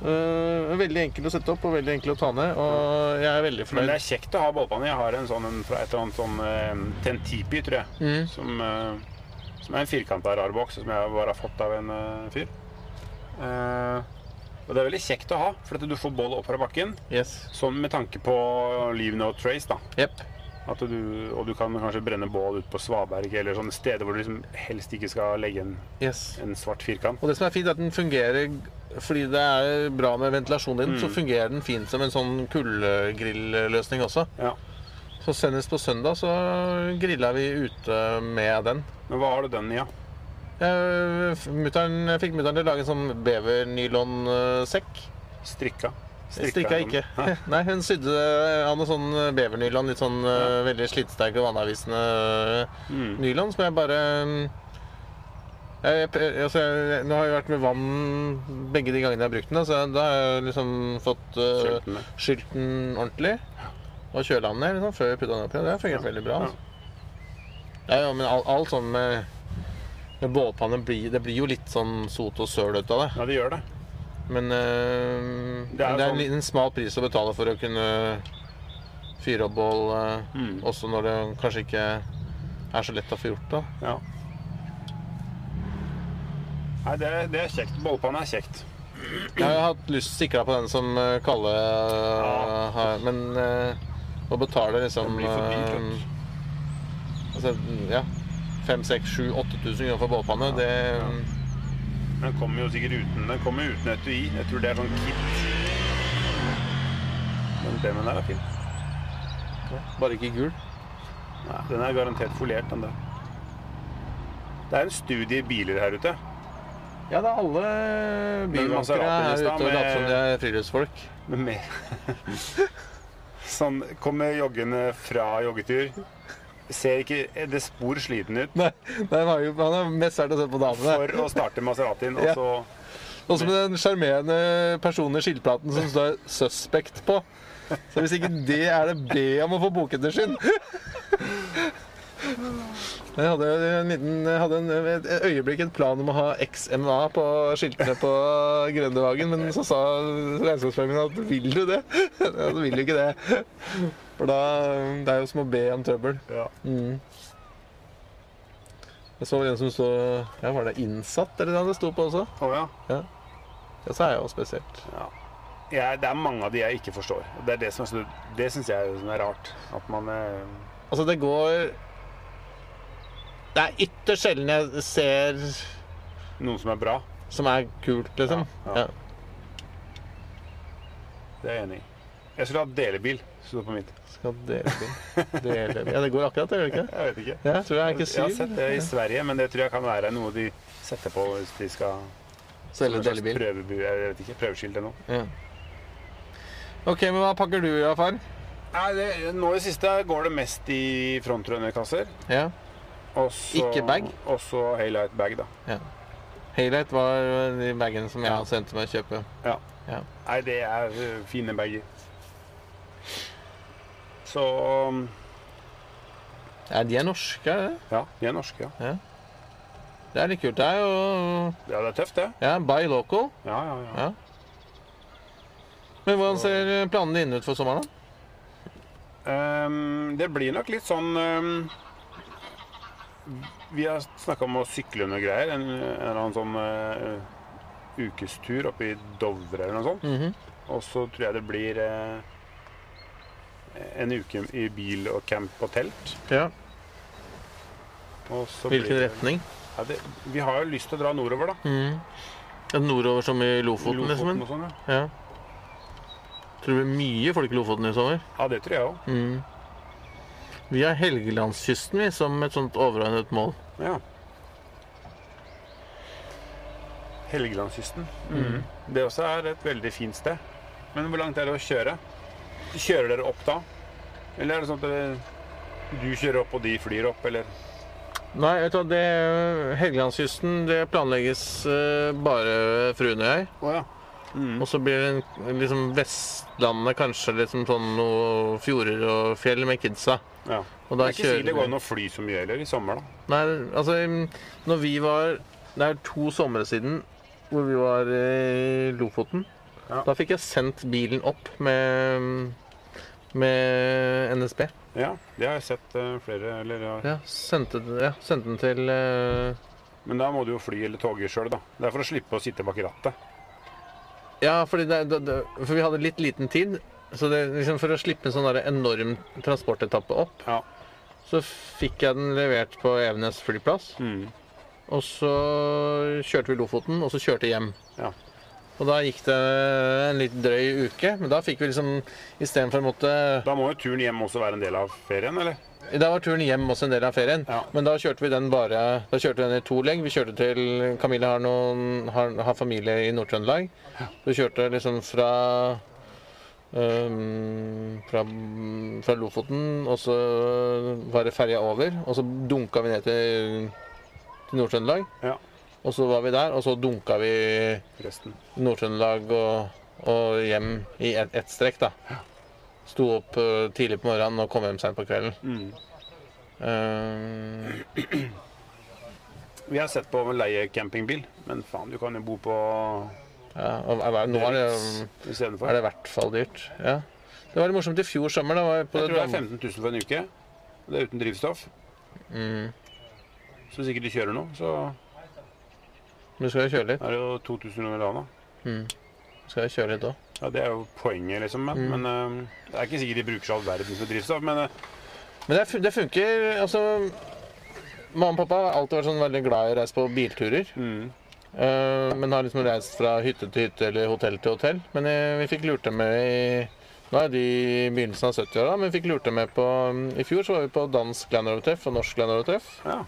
[SPEAKER 3] Eh, veldig enkel å sette opp og veldig enkel å ta ned. Og jeg er veldig
[SPEAKER 2] Men
[SPEAKER 3] fornøyd.
[SPEAKER 2] det er kjekt å ha bålpanne. Jeg har en sånn en fra et eller annet sånn eh, Tentipi, tror jeg.
[SPEAKER 3] Mm.
[SPEAKER 2] Som, eh, som er en firkanta rar boks som jeg bare har fått av en eh, fyr. Eh, og det er veldig kjekt å ha, for at du får bål opp fra bakken.
[SPEAKER 3] Yes.
[SPEAKER 2] Sånn med tanke på leave no trace, da.
[SPEAKER 3] Jepp.
[SPEAKER 2] At du, og du kan kanskje brenne bål ute på svaberg eller sånne steder hvor du liksom helst ikke skal legge en,
[SPEAKER 3] Yes.
[SPEAKER 2] en svart firkant.
[SPEAKER 3] Og det som er fint, er at den fungerer fordi det er bra med ventilasjonen din, så
[SPEAKER 2] Mm.
[SPEAKER 3] fungerer den fint som en sånn kullgrilløsning også.
[SPEAKER 2] Ja.
[SPEAKER 3] Så senest på søndag så grilla vi ute med den.
[SPEAKER 2] Men hva har du den i, da?
[SPEAKER 3] Jeg, mutteren, jeg fikk mutter'n til å lage en sånn bevernylonsekk.
[SPEAKER 2] Strikka?
[SPEAKER 3] Strikka ikke.
[SPEAKER 2] Hæ?
[SPEAKER 3] Nei, hun sydde av noe sånn bevernylon, litt sånn eh, veldig slitesterk og vannavvisende
[SPEAKER 2] Mm.
[SPEAKER 3] nylon, som jeg bare mm, jeg, jeg, altså, jeg, Nå har jeg vært med vann begge de gangene jeg har brukt den, da, så da har jeg liksom fått eh,
[SPEAKER 2] Kjøpte den, ja.
[SPEAKER 3] skylt den ordentlig. Og kjøla den ned liksom, før jeg putta den oppi. og Det har fungert veldig bra.
[SPEAKER 2] Ja.
[SPEAKER 3] Altså. Ja, ja, men alt, alt sånn med, med bålpanne blir, Det blir jo litt sånn sot og søl ut av det.
[SPEAKER 2] Ja, det gjør det.
[SPEAKER 3] Men øh,
[SPEAKER 2] Det
[SPEAKER 3] det
[SPEAKER 2] er
[SPEAKER 3] er,
[SPEAKER 2] sånn-
[SPEAKER 3] en liten smal pris å betale for å kunne fyre opp bål øh,
[SPEAKER 2] Mm.
[SPEAKER 3] også når det kanskje ikke er så lett å få gjort det.
[SPEAKER 2] Ja. Nei, det, det er kjekt. Bollpanne er kjekt.
[SPEAKER 3] Jeg har hatt lyst sikra på den som øh, Kalle øh,
[SPEAKER 2] Ja.
[SPEAKER 3] har, men øh, å betale liksom
[SPEAKER 2] Det blir for dyrt, vet du.
[SPEAKER 3] øh, altså, ja, 5 6 7 8000 kroner for bålpanne, det øh,
[SPEAKER 2] Den kommer jo sikkert uten Den kommer jo uten etui. Jeg tror det er sånn kit. Men den der er fin.
[SPEAKER 3] eh, Bare ikke gul.
[SPEAKER 2] Nei, den er garantert foliert, den der. Det er en studie i biler her ute.
[SPEAKER 3] Ja, det er alle
[SPEAKER 2] Men
[SPEAKER 3] byvankere
[SPEAKER 2] Maserati
[SPEAKER 3] er
[SPEAKER 2] nesten,
[SPEAKER 3] ute og
[SPEAKER 2] med-
[SPEAKER 3] later som de er friluftsfolk.
[SPEAKER 2] Med mer sånn Kommer joggende fra joggetur. Ser ikke det spor sliten ut
[SPEAKER 3] Nei, nei, han er jo- han er mest sært å se på damene.
[SPEAKER 2] for å starte Maseratien, og
[SPEAKER 3] Ja.
[SPEAKER 2] så
[SPEAKER 3] Også med Sånn den sjarmerende personen i skiltplaten som står 'suspect' på. Så hvis ikke det er det, be om å få boketterskinn! Jeg hadde, en liten, jeg hadde en, et øyeblikk et plan om å ha XMA på skiltene på Grøndevagen, men så sa regnskapsføreren min at 'vil du det?' Ja, du vil jo ikke det. For da Det er jo som å be om trøbbel.
[SPEAKER 2] ja.
[SPEAKER 3] Mm. Jeg så en som stod ja, Var det innsatt eller noe det sto på også?
[SPEAKER 2] Å ja.
[SPEAKER 3] Ja, så er jeg jo spesielt.
[SPEAKER 2] Jeg, det er mange av de jeg ikke forstår. og Det er det som er, så- det syns jeg er, som er rart. At man eh,
[SPEAKER 3] Altså, det går Det er ytterst sjelden jeg ser
[SPEAKER 2] Noen som er bra.
[SPEAKER 3] som er kult, liksom.
[SPEAKER 2] Ja,
[SPEAKER 3] Ja,
[SPEAKER 2] ja. Det er jeg enig i. Jeg skulle hatt delebil. Sto det på mitt.
[SPEAKER 3] Skal dele bil. Dele bil. Ja, det går akkurat, det gjør det ikke?
[SPEAKER 2] Jeg vet ikke.
[SPEAKER 3] Ja, jeg tror jeg er ikke
[SPEAKER 2] Jeg har
[SPEAKER 3] syv.
[SPEAKER 2] sett det i Sverige, men det tror jeg kan være noe de setter på hvis de skal
[SPEAKER 3] Selge delebil.
[SPEAKER 2] Prøvebu, jeg vet ikke, prøveskilt eller noe.
[SPEAKER 3] Ja. OK, men hva pakker du, ja, far?
[SPEAKER 2] Nei, det, nå i det siste går det mest i frontrunnerkasser.
[SPEAKER 3] Ja.
[SPEAKER 2] og så-
[SPEAKER 3] Ikke bag?
[SPEAKER 2] Og så Haylight bag, da.
[SPEAKER 3] Haylight var de bagene som jeg sendte meg å kjøpe.
[SPEAKER 2] Nei, det er ø, fine bager. Så um,
[SPEAKER 3] Ja, de er norske, er det?
[SPEAKER 2] Ja, de er norske, ja.
[SPEAKER 3] Det er litt kult. Det er jo
[SPEAKER 2] Ja, det er tøft, det.
[SPEAKER 3] Ja, buy local.
[SPEAKER 2] Ja, ja, ja.
[SPEAKER 3] Ja. Men hvordan ser eh, planene dine ut for sommeren, da?
[SPEAKER 2] Ehm, det blir nok litt sånn ehm, Vi har snakka om å sykle noe greier. En, en eller annen sånn eh, ukestur oppe i Dovre eller noe sånt.
[SPEAKER 3] Mhm.
[SPEAKER 2] Og så tror jeg det blir eh, en uke i bil og camp og telt.
[SPEAKER 3] Ja.
[SPEAKER 2] Og så
[SPEAKER 3] Hvilken
[SPEAKER 2] blir det-
[SPEAKER 3] retning?
[SPEAKER 2] Ja, det, vi har jo lyst til å dra nordover, da.
[SPEAKER 3] Mm. Nordover som i Lofoten, liksom?
[SPEAKER 2] og sånn, ja.
[SPEAKER 3] Ja. Tror det blir mye folk i Lofoten i sommer.
[SPEAKER 2] ja, det tror jeg òg.
[SPEAKER 3] Mm. Vi har Helgelandskysten vi, som et sånt overordnet mål.
[SPEAKER 2] Ja. Helgelandskysten.
[SPEAKER 3] Mm.
[SPEAKER 2] Det også er et veldig fint sted. Men hvor langt er det å kjøre? Kjører dere opp da? Eller er det sånn at dere, du kjører opp, og de flyr opp, eller?
[SPEAKER 3] Nei, vet du hva, det Helgelandskysten det planlegges eh, bare fruen og jeg.
[SPEAKER 2] Å ja.
[SPEAKER 3] Og så blir det en- liksom Vestlandet kanskje liksom sånn noe fjorder og fjell med kidsa.
[SPEAKER 2] ja.
[SPEAKER 3] Og
[SPEAKER 2] Det
[SPEAKER 3] da
[SPEAKER 2] er ikke sikkert det går
[SPEAKER 3] kjører vi
[SPEAKER 2] an å fly så mye heller i sommer, da.
[SPEAKER 3] Nei, altså mm, Når vi var Det er to somre siden hvor vi var i Lofoten.
[SPEAKER 2] Ja.
[SPEAKER 3] Da fikk jeg sendt bilen opp med, med NSB.
[SPEAKER 2] Ja, det har jeg sett eh, flere eller, ja.
[SPEAKER 3] Ja, sendte, den- ja, sendte den til eh,
[SPEAKER 2] Men da må du jo fly eller toge sjøl, da. Det er for å slippe å sitte bak rattet.
[SPEAKER 3] Ja, fordi det, det, det, for vi hadde litt liten tid. Så det, liksom for å slippe en sånn der enorm transportetappe opp,
[SPEAKER 2] Ja.
[SPEAKER 3] så fikk jeg den levert på Evenes flyplass.
[SPEAKER 2] Mm.
[SPEAKER 3] Og så kjørte vi Lofoten, og så kjørte jeg hjem.
[SPEAKER 2] Ja.
[SPEAKER 3] Og da gikk det en litt drøy uke, men da fikk vi liksom istedenfor å måtte
[SPEAKER 2] Da må jo turen hjem også være en del av ferien, eller?
[SPEAKER 3] Da var turen hjem også en del av ferien,
[SPEAKER 2] Ja.
[SPEAKER 3] men da kjørte vi den bare Da kjørte vi den i to legg. Vi kjørte til Camilla har, noen, har, har familie i Nord-Trøndelag. Så vi kjørte liksom fra øhm, fra, fra Lofoten, og så var det ferja over. Og så dunka vi ned til, til Nord-Trøndelag.
[SPEAKER 2] Ja.
[SPEAKER 3] Og så var vi der, og så dunka vi
[SPEAKER 2] Resten.
[SPEAKER 3] Nord-Trøndelag og, og hjem i ett ett strekk, da. Sto opp øh, tidlig på morgenen og kom hjem seint på kvelden.
[SPEAKER 2] Mm.
[SPEAKER 3] Eh,
[SPEAKER 2] Vi har sett på å leie campingbil, men faen, du kan jo bo på
[SPEAKER 3] ja, og, er- er- nå er det, um, er
[SPEAKER 2] istedenfor.
[SPEAKER 3] det i hvert fall dyrt. Ja. Det var litt morsomt i fjor sommer. Da var jeg på
[SPEAKER 2] Jeg tror det er
[SPEAKER 3] Dam-
[SPEAKER 2] 15 000 for en uke. og Det er uten drivstoff.
[SPEAKER 3] Mm.
[SPEAKER 2] Så hvis ikke du kjører noe, så
[SPEAKER 3] Men du skal jo kjøre litt.
[SPEAKER 2] er det jo 2000 kroner dagen. da.
[SPEAKER 3] Du Skal jo kjøre litt òg.
[SPEAKER 2] Ja, Det er jo poenget, liksom. Men,
[SPEAKER 3] Mm.
[SPEAKER 2] men eh, det er ikke sikkert de bruker så all verden for drivstoff. Men eh,
[SPEAKER 3] Men det, fun- det funker. Altså Mamma og pappa har alltid vært sånn veldig glad i å reise på bilturer.
[SPEAKER 2] mm,
[SPEAKER 3] eh, men har liksom reist fra hytte til hytte eller hotell til hotell. Men eh, vi fikk lurt dem med i Nå er de i begynnelsen av 70-åra, men vi fikk lurt dem med på mm, I fjor så var vi på dansk landovertreff og norsk landovertreff.
[SPEAKER 2] ja.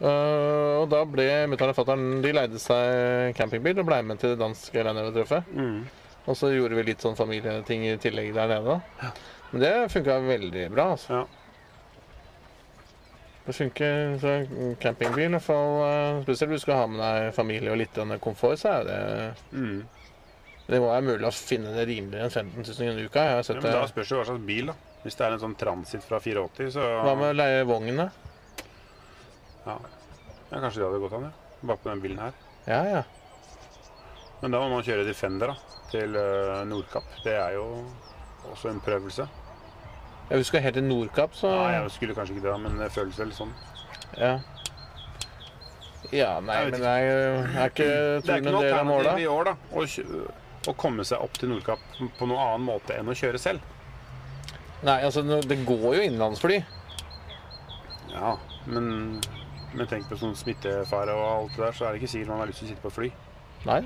[SPEAKER 3] Eh, og da ble mutter'n og fatter'n De leide seg campingbil og ble med til det danske landovertreffet.
[SPEAKER 2] Mm.
[SPEAKER 3] Og så gjorde vi litt sånn familieting i tillegg der nede. Men det funka veldig bra. altså.
[SPEAKER 2] Ja.
[SPEAKER 3] Det funker så en campingbil, i hvert fall. eh, Spesielt hvis du skal ha med deg familie og litt grann komfort, så er det
[SPEAKER 2] Mm.
[SPEAKER 3] Det må være mulig å finne det rimeligere enn 15 000 kroner i uka. Jeg har
[SPEAKER 2] Ja,
[SPEAKER 3] sett
[SPEAKER 2] men da
[SPEAKER 3] det.
[SPEAKER 2] spørs det hva slags bil, da. Hvis det er en sånn transit fra 84, så
[SPEAKER 3] Hva med å leie vogn, da?
[SPEAKER 2] ja. ja, kanskje det hadde gått an, ja. Bare på den bilen her.
[SPEAKER 3] Ja, ja.
[SPEAKER 2] Men da må man kjøre Defender da, til eh, Nordkapp. Det er jo også en prøvelse.
[SPEAKER 3] Ja, Hvis du skal helt til Nordkapp, så
[SPEAKER 2] Nei, jeg skulle kanskje ikke det, men det føles vel sånn.
[SPEAKER 3] Ja. Ja, nei,
[SPEAKER 2] Jeg vet
[SPEAKER 3] men jeg er ikke
[SPEAKER 2] Det er
[SPEAKER 3] turen
[SPEAKER 2] ikke
[SPEAKER 3] en
[SPEAKER 2] noe
[SPEAKER 3] del av måla.
[SPEAKER 2] alternativ i år, da. Å, kjø- å komme seg opp til Nordkapp på noen annen måte enn å kjøre selv.
[SPEAKER 3] Nei, altså, nå- det går jo innenlandsfly.
[SPEAKER 2] Ja, men, men tenk på sånn smittefare og alt det der, så er det ikke sikkert man har lyst til å sitte på fly.
[SPEAKER 3] Nei.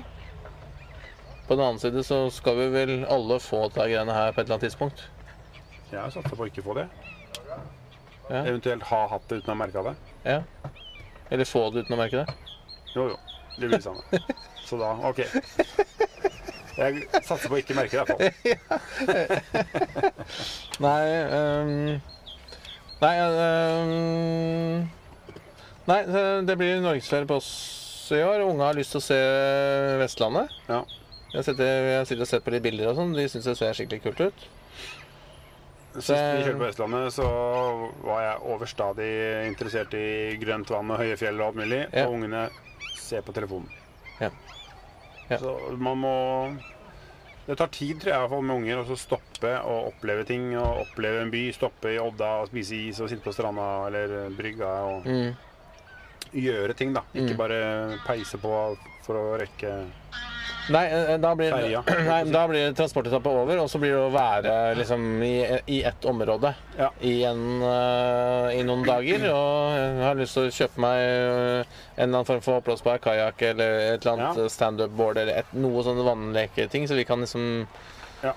[SPEAKER 3] På den annen side så skal vi vel alle få de greiene her på et eller annet tidspunkt.
[SPEAKER 2] Jeg satser på å ikke få det.
[SPEAKER 3] Ja.
[SPEAKER 2] Eventuelt ha hatt det uten å ha merka det.
[SPEAKER 3] Ja. Eller få det uten å merke det.
[SPEAKER 2] Jo, jo. Det blir det samme. Så da OK. Jeg satser på å ikke merke det, i hvert fall.
[SPEAKER 3] Nei ehm, Nei ehm, Nei, så det blir norgesferie på oss i år. Unge har lyst til å se Vestlandet.
[SPEAKER 2] Ja.
[SPEAKER 3] Jeg sitter, jeg sitter og ser på litt bilder og sånn. De syns det ser skikkelig kult ut.
[SPEAKER 2] Sist vi kjørte på Østlandet, så var jeg overstadig interessert i grønt vann og høye fjell og alt mulig.
[SPEAKER 3] Ja.
[SPEAKER 2] Og ungene ser på telefonen.
[SPEAKER 3] Ja. Ja.
[SPEAKER 2] Så man må Det tar tid, tror jeg, i hvert fall med unger, å stoppe og oppleve ting. Og oppleve en by. Stoppe i Odda og spise is og sitte på stranda eller brygga og
[SPEAKER 3] Mm.
[SPEAKER 2] gjøre ting, da. Ikke
[SPEAKER 3] Mm.
[SPEAKER 2] bare peise på for å rekke
[SPEAKER 3] Nei, eh, da blir,
[SPEAKER 2] Ferja.
[SPEAKER 3] nei, da blir transportetappa over, og så blir det å være liksom, i, i ett område
[SPEAKER 2] Ja.
[SPEAKER 3] i, en, eh, i noen dager. Og jeg har lyst til å kjøpe meg eh, en eller annen form for oppblåsbar kajakk eller et eller annet
[SPEAKER 2] Ja.
[SPEAKER 3] eh, standup-board eller et, noe sånne vannleketing, så vi kan liksom
[SPEAKER 2] Ja.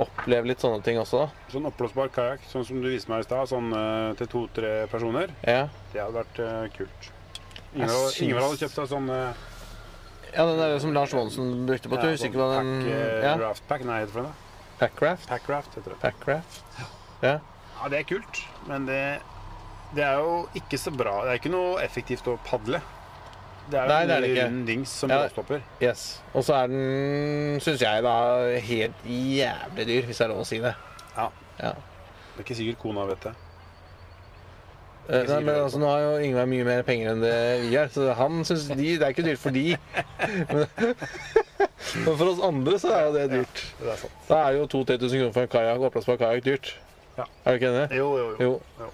[SPEAKER 3] oppleve litt sånne ting også. da.
[SPEAKER 2] sånn oppblåsbar kajakk, sånn som du viste meg i stad, sånn eh, til to-tre personer.
[SPEAKER 3] Ja.
[SPEAKER 2] Det hadde vært eh, kult.
[SPEAKER 3] Jeg
[SPEAKER 2] Ingvar
[SPEAKER 3] syns-
[SPEAKER 2] Ingvar hadde kjøpt seg sånn eh,
[SPEAKER 3] ja, den der som Lars Monsen brukte på tur. Husker ikke hva den
[SPEAKER 2] Pack, eh,
[SPEAKER 3] ja.
[SPEAKER 2] ja. Raft pack, nei, heter det for det?
[SPEAKER 3] Packraft?
[SPEAKER 2] Packraft heter det.
[SPEAKER 3] Packraft. Ja.
[SPEAKER 2] Ja, det er kult, men det, det er jo ikke så bra. Det er ikke noe effektivt å padle. Det er jo
[SPEAKER 3] Nei, det er
[SPEAKER 2] en
[SPEAKER 3] det ikke.
[SPEAKER 2] rund dings som
[SPEAKER 3] Ja.
[SPEAKER 2] bråstopper.
[SPEAKER 3] Yes. Og så er den, syns jeg, da helt jævlig dyr, hvis det er lov å si det.
[SPEAKER 2] Ja.
[SPEAKER 3] Ja.
[SPEAKER 2] Det er ikke sikkert kona vet det.
[SPEAKER 3] Eh,
[SPEAKER 2] Ikke
[SPEAKER 3] Nei,
[SPEAKER 2] sikkert
[SPEAKER 3] men
[SPEAKER 2] det.
[SPEAKER 3] altså, Nå har jo Ingvar mye mer penger enn det vi har, så han syns de Det er ikke dyrt for de. Men, men for oss andre så er jo det dyrt.
[SPEAKER 2] Det er sånn. sant.
[SPEAKER 3] Da er jo 2000-3000 kroner for en kajak, oppblåsbar kajakk dyrt.
[SPEAKER 2] Ja.
[SPEAKER 3] Er du ikke enig?
[SPEAKER 2] Jo, jo, jo.
[SPEAKER 3] Jo.
[SPEAKER 2] Jo.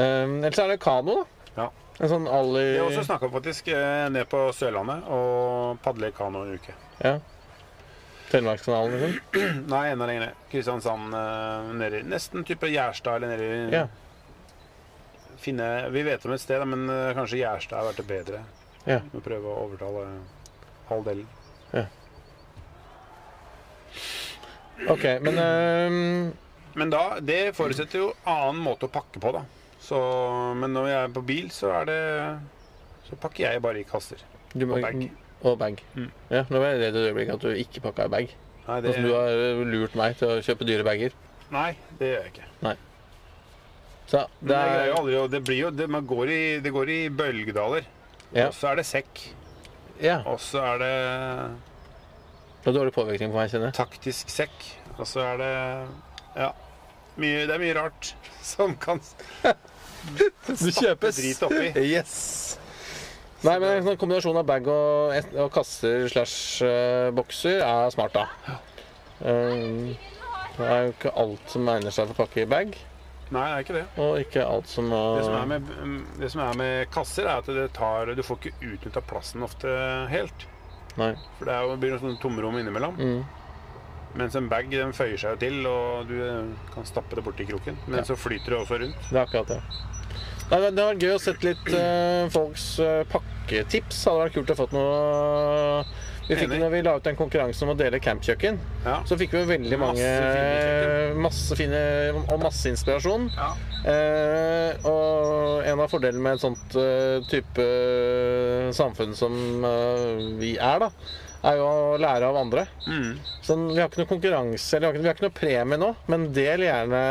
[SPEAKER 3] Um, ellers er det kano, da.
[SPEAKER 2] Ja.
[SPEAKER 3] En sånn ali...
[SPEAKER 2] Vi har også snakka faktisk eh, ned på Sørlandet og padle kano en uke.
[SPEAKER 3] Ja. Telemarkskanalen, liksom.
[SPEAKER 2] Nei, enda lenger ned. Kristiansand eh, nedi nesten type Gjerstad eller nedi
[SPEAKER 3] Ja.
[SPEAKER 2] Finne Vi vet om et sted, da, men eh, kanskje Gjerstad har vært det bedre.
[SPEAKER 3] Ja.
[SPEAKER 2] Må prøve å overtale eh, halvdelen.
[SPEAKER 3] OK, men um,
[SPEAKER 2] Men da, det forutsetter jo annen måte å pakke på, da. Så, men når jeg er på bil, så er det Så pakker jeg bare i kasser.
[SPEAKER 3] du må-
[SPEAKER 2] Og bag.
[SPEAKER 3] Og bag.
[SPEAKER 2] Mm.
[SPEAKER 3] Ja, nå var jeg redd et øyeblikk at du ikke pakka i bag.
[SPEAKER 2] Nei,
[SPEAKER 3] Nå
[SPEAKER 2] det,
[SPEAKER 3] som du har eh, lurt meg til å kjøpe dyre bager.
[SPEAKER 2] nei, det gjør jeg ikke.
[SPEAKER 3] Så
[SPEAKER 2] Men
[SPEAKER 3] det
[SPEAKER 2] jeg greier
[SPEAKER 3] er
[SPEAKER 2] jo aldri, å- det blir jo, det, man går i, det går i bølgedaler.
[SPEAKER 3] Ja.
[SPEAKER 2] Og så er det sekk.
[SPEAKER 3] Ja.
[SPEAKER 2] Og så er det
[SPEAKER 3] Det var dårlig påvirkning på meg, kjenner jeg.
[SPEAKER 2] taktisk sekk. Og så er det Ja. Mye, det er mye rart som kan
[SPEAKER 3] Du kjøpes!
[SPEAKER 2] drit oppi.
[SPEAKER 3] Yes! Nei, men en sånn kombinasjon av bag og, et- og kasser slash eh, bokser er smart, da. Um, det er jo ikke alt som egner seg for å pakke i bag,
[SPEAKER 2] Nei, det er ikke det.
[SPEAKER 3] og ikke alt som
[SPEAKER 2] Det som,
[SPEAKER 3] uh,
[SPEAKER 2] er med, mm, det som er med kasser, er at det tar, du får ikke utnytta plassen ofte helt.
[SPEAKER 3] Nei.
[SPEAKER 2] For det er jo, blir noe sånn tomrom innimellom.
[SPEAKER 3] Mm.
[SPEAKER 2] Mens en bag den føyer seg jo til, og du eh, kan stappe det borti kroken. Men
[SPEAKER 3] Ja.
[SPEAKER 2] så flyter det også rundt.
[SPEAKER 3] Det er akkurat det. Nei, men Det hadde vært gøy å sett litt eh, folks eh, pakketips. Hadde vært kult å fått noe eh, Vi fikk
[SPEAKER 2] Enig.
[SPEAKER 3] når vi la ut en konkurranse om å dele campkjøkken,
[SPEAKER 2] Ja.
[SPEAKER 3] så fikk vi veldig mange eh,
[SPEAKER 2] Masse fine
[SPEAKER 3] Masse fine og masse inspirasjon.
[SPEAKER 2] Ja.
[SPEAKER 3] Eh, og en av fordelene med et sånt eh, type samfunn som eh, vi er, da, er jo å lære av andre.
[SPEAKER 2] Mm.
[SPEAKER 3] Sånn, vi har ikke noe konkurranse, eller vi har ikke, vi har ikke noe premie nå, men del gjerne,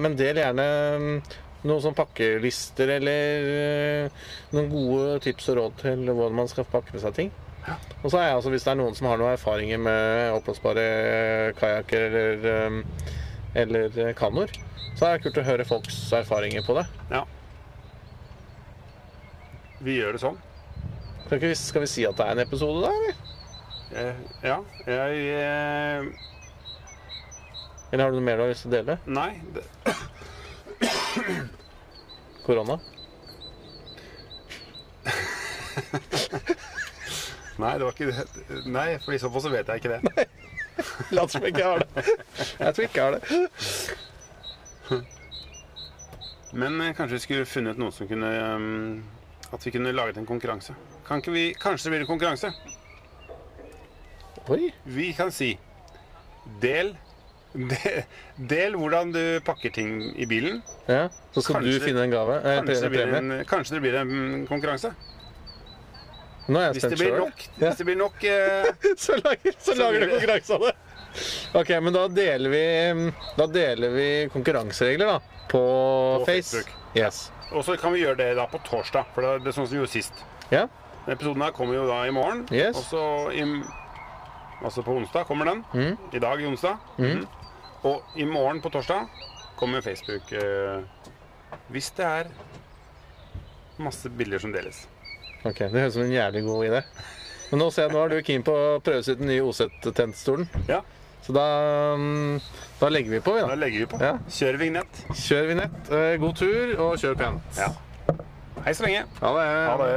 [SPEAKER 3] men del gjerne mm, noen sånn pakkelister eller eh, noen gode tips og råd til hvordan man skal pakke med seg ting. Og så er jeg altså, hvis det er noen som har noen erfaringer med oppblåsbare eh, kajakker eller, em, eller eh, kanoer, så er det kult å høre folks erfaringer på det.
[SPEAKER 2] Ja. Vi gjør det sånn.
[SPEAKER 3] Skal, ikke, vi- skal vi si at det er en episode da, eller?
[SPEAKER 2] Eh, ja. Jeg eh,
[SPEAKER 3] Eller har du noe mer du har lyst til å dele?
[SPEAKER 2] Nei. Det,
[SPEAKER 3] Korona?
[SPEAKER 2] nei, det var ikke det. Nei, for i så fall så vet jeg ikke det.
[SPEAKER 3] Lat som jeg ikke har det. Jeg tror ikke jeg har det.
[SPEAKER 2] Men eh, kanskje vi skulle funnet noen som kunne eh, At vi kunne laget en konkurranse. Kan ikke vi, kanskje det blir en konkurranse?
[SPEAKER 3] Oi.
[SPEAKER 2] Vi kan si Del de- Del hvordan du pakker ting i bilen.
[SPEAKER 3] Ja, så skal
[SPEAKER 2] Kanskje-
[SPEAKER 3] du finne en gave. Eh,
[SPEAKER 2] Kanskje det
[SPEAKER 3] pre-
[SPEAKER 2] blir
[SPEAKER 3] premie.
[SPEAKER 2] en, kanskje det blir en mm, konkurranse.
[SPEAKER 3] Nå er jeg
[SPEAKER 2] Hvis det
[SPEAKER 3] spent
[SPEAKER 2] blir
[SPEAKER 3] sjøl.
[SPEAKER 2] nok, hvis det blir nok eh,
[SPEAKER 3] Så lager, så lager
[SPEAKER 2] blir
[SPEAKER 3] du
[SPEAKER 2] det-
[SPEAKER 3] konkurranse av det. Ok, men da deler vi, da deler vi konkurranseregler da, på,
[SPEAKER 2] På
[SPEAKER 3] Face.
[SPEAKER 2] Facebook.
[SPEAKER 3] Yes.
[SPEAKER 2] Og så kan vi gjøre det da på torsdag, for det er- det er sånn som vi gjorde sist.
[SPEAKER 3] Ja,
[SPEAKER 2] Den episoden her kommer jo da i morgen.
[SPEAKER 3] Yes.
[SPEAKER 2] Og så i, altså på onsdag kommer den.
[SPEAKER 3] Mm.
[SPEAKER 2] I dag i onsdag. Mhm. Og i morgen på torsdag kommer Facebook eh, Hvis det er masse bilder som deles.
[SPEAKER 3] ok. Det høres ut som en jævlig god idé. Men nå ser jeg, nå er du keen på å prøves ut den nye OZ-tentstolen.
[SPEAKER 2] Ja,
[SPEAKER 3] Så da, mm, da legger vi på, vi
[SPEAKER 2] da
[SPEAKER 3] da.
[SPEAKER 2] legger vi på.
[SPEAKER 3] Ja.
[SPEAKER 2] Kjør vignett.
[SPEAKER 3] Kjør vignett. eh, God tur, og kjør pent.
[SPEAKER 2] Ja. Hei så lenge.
[SPEAKER 3] Ha det.
[SPEAKER 2] Ha det.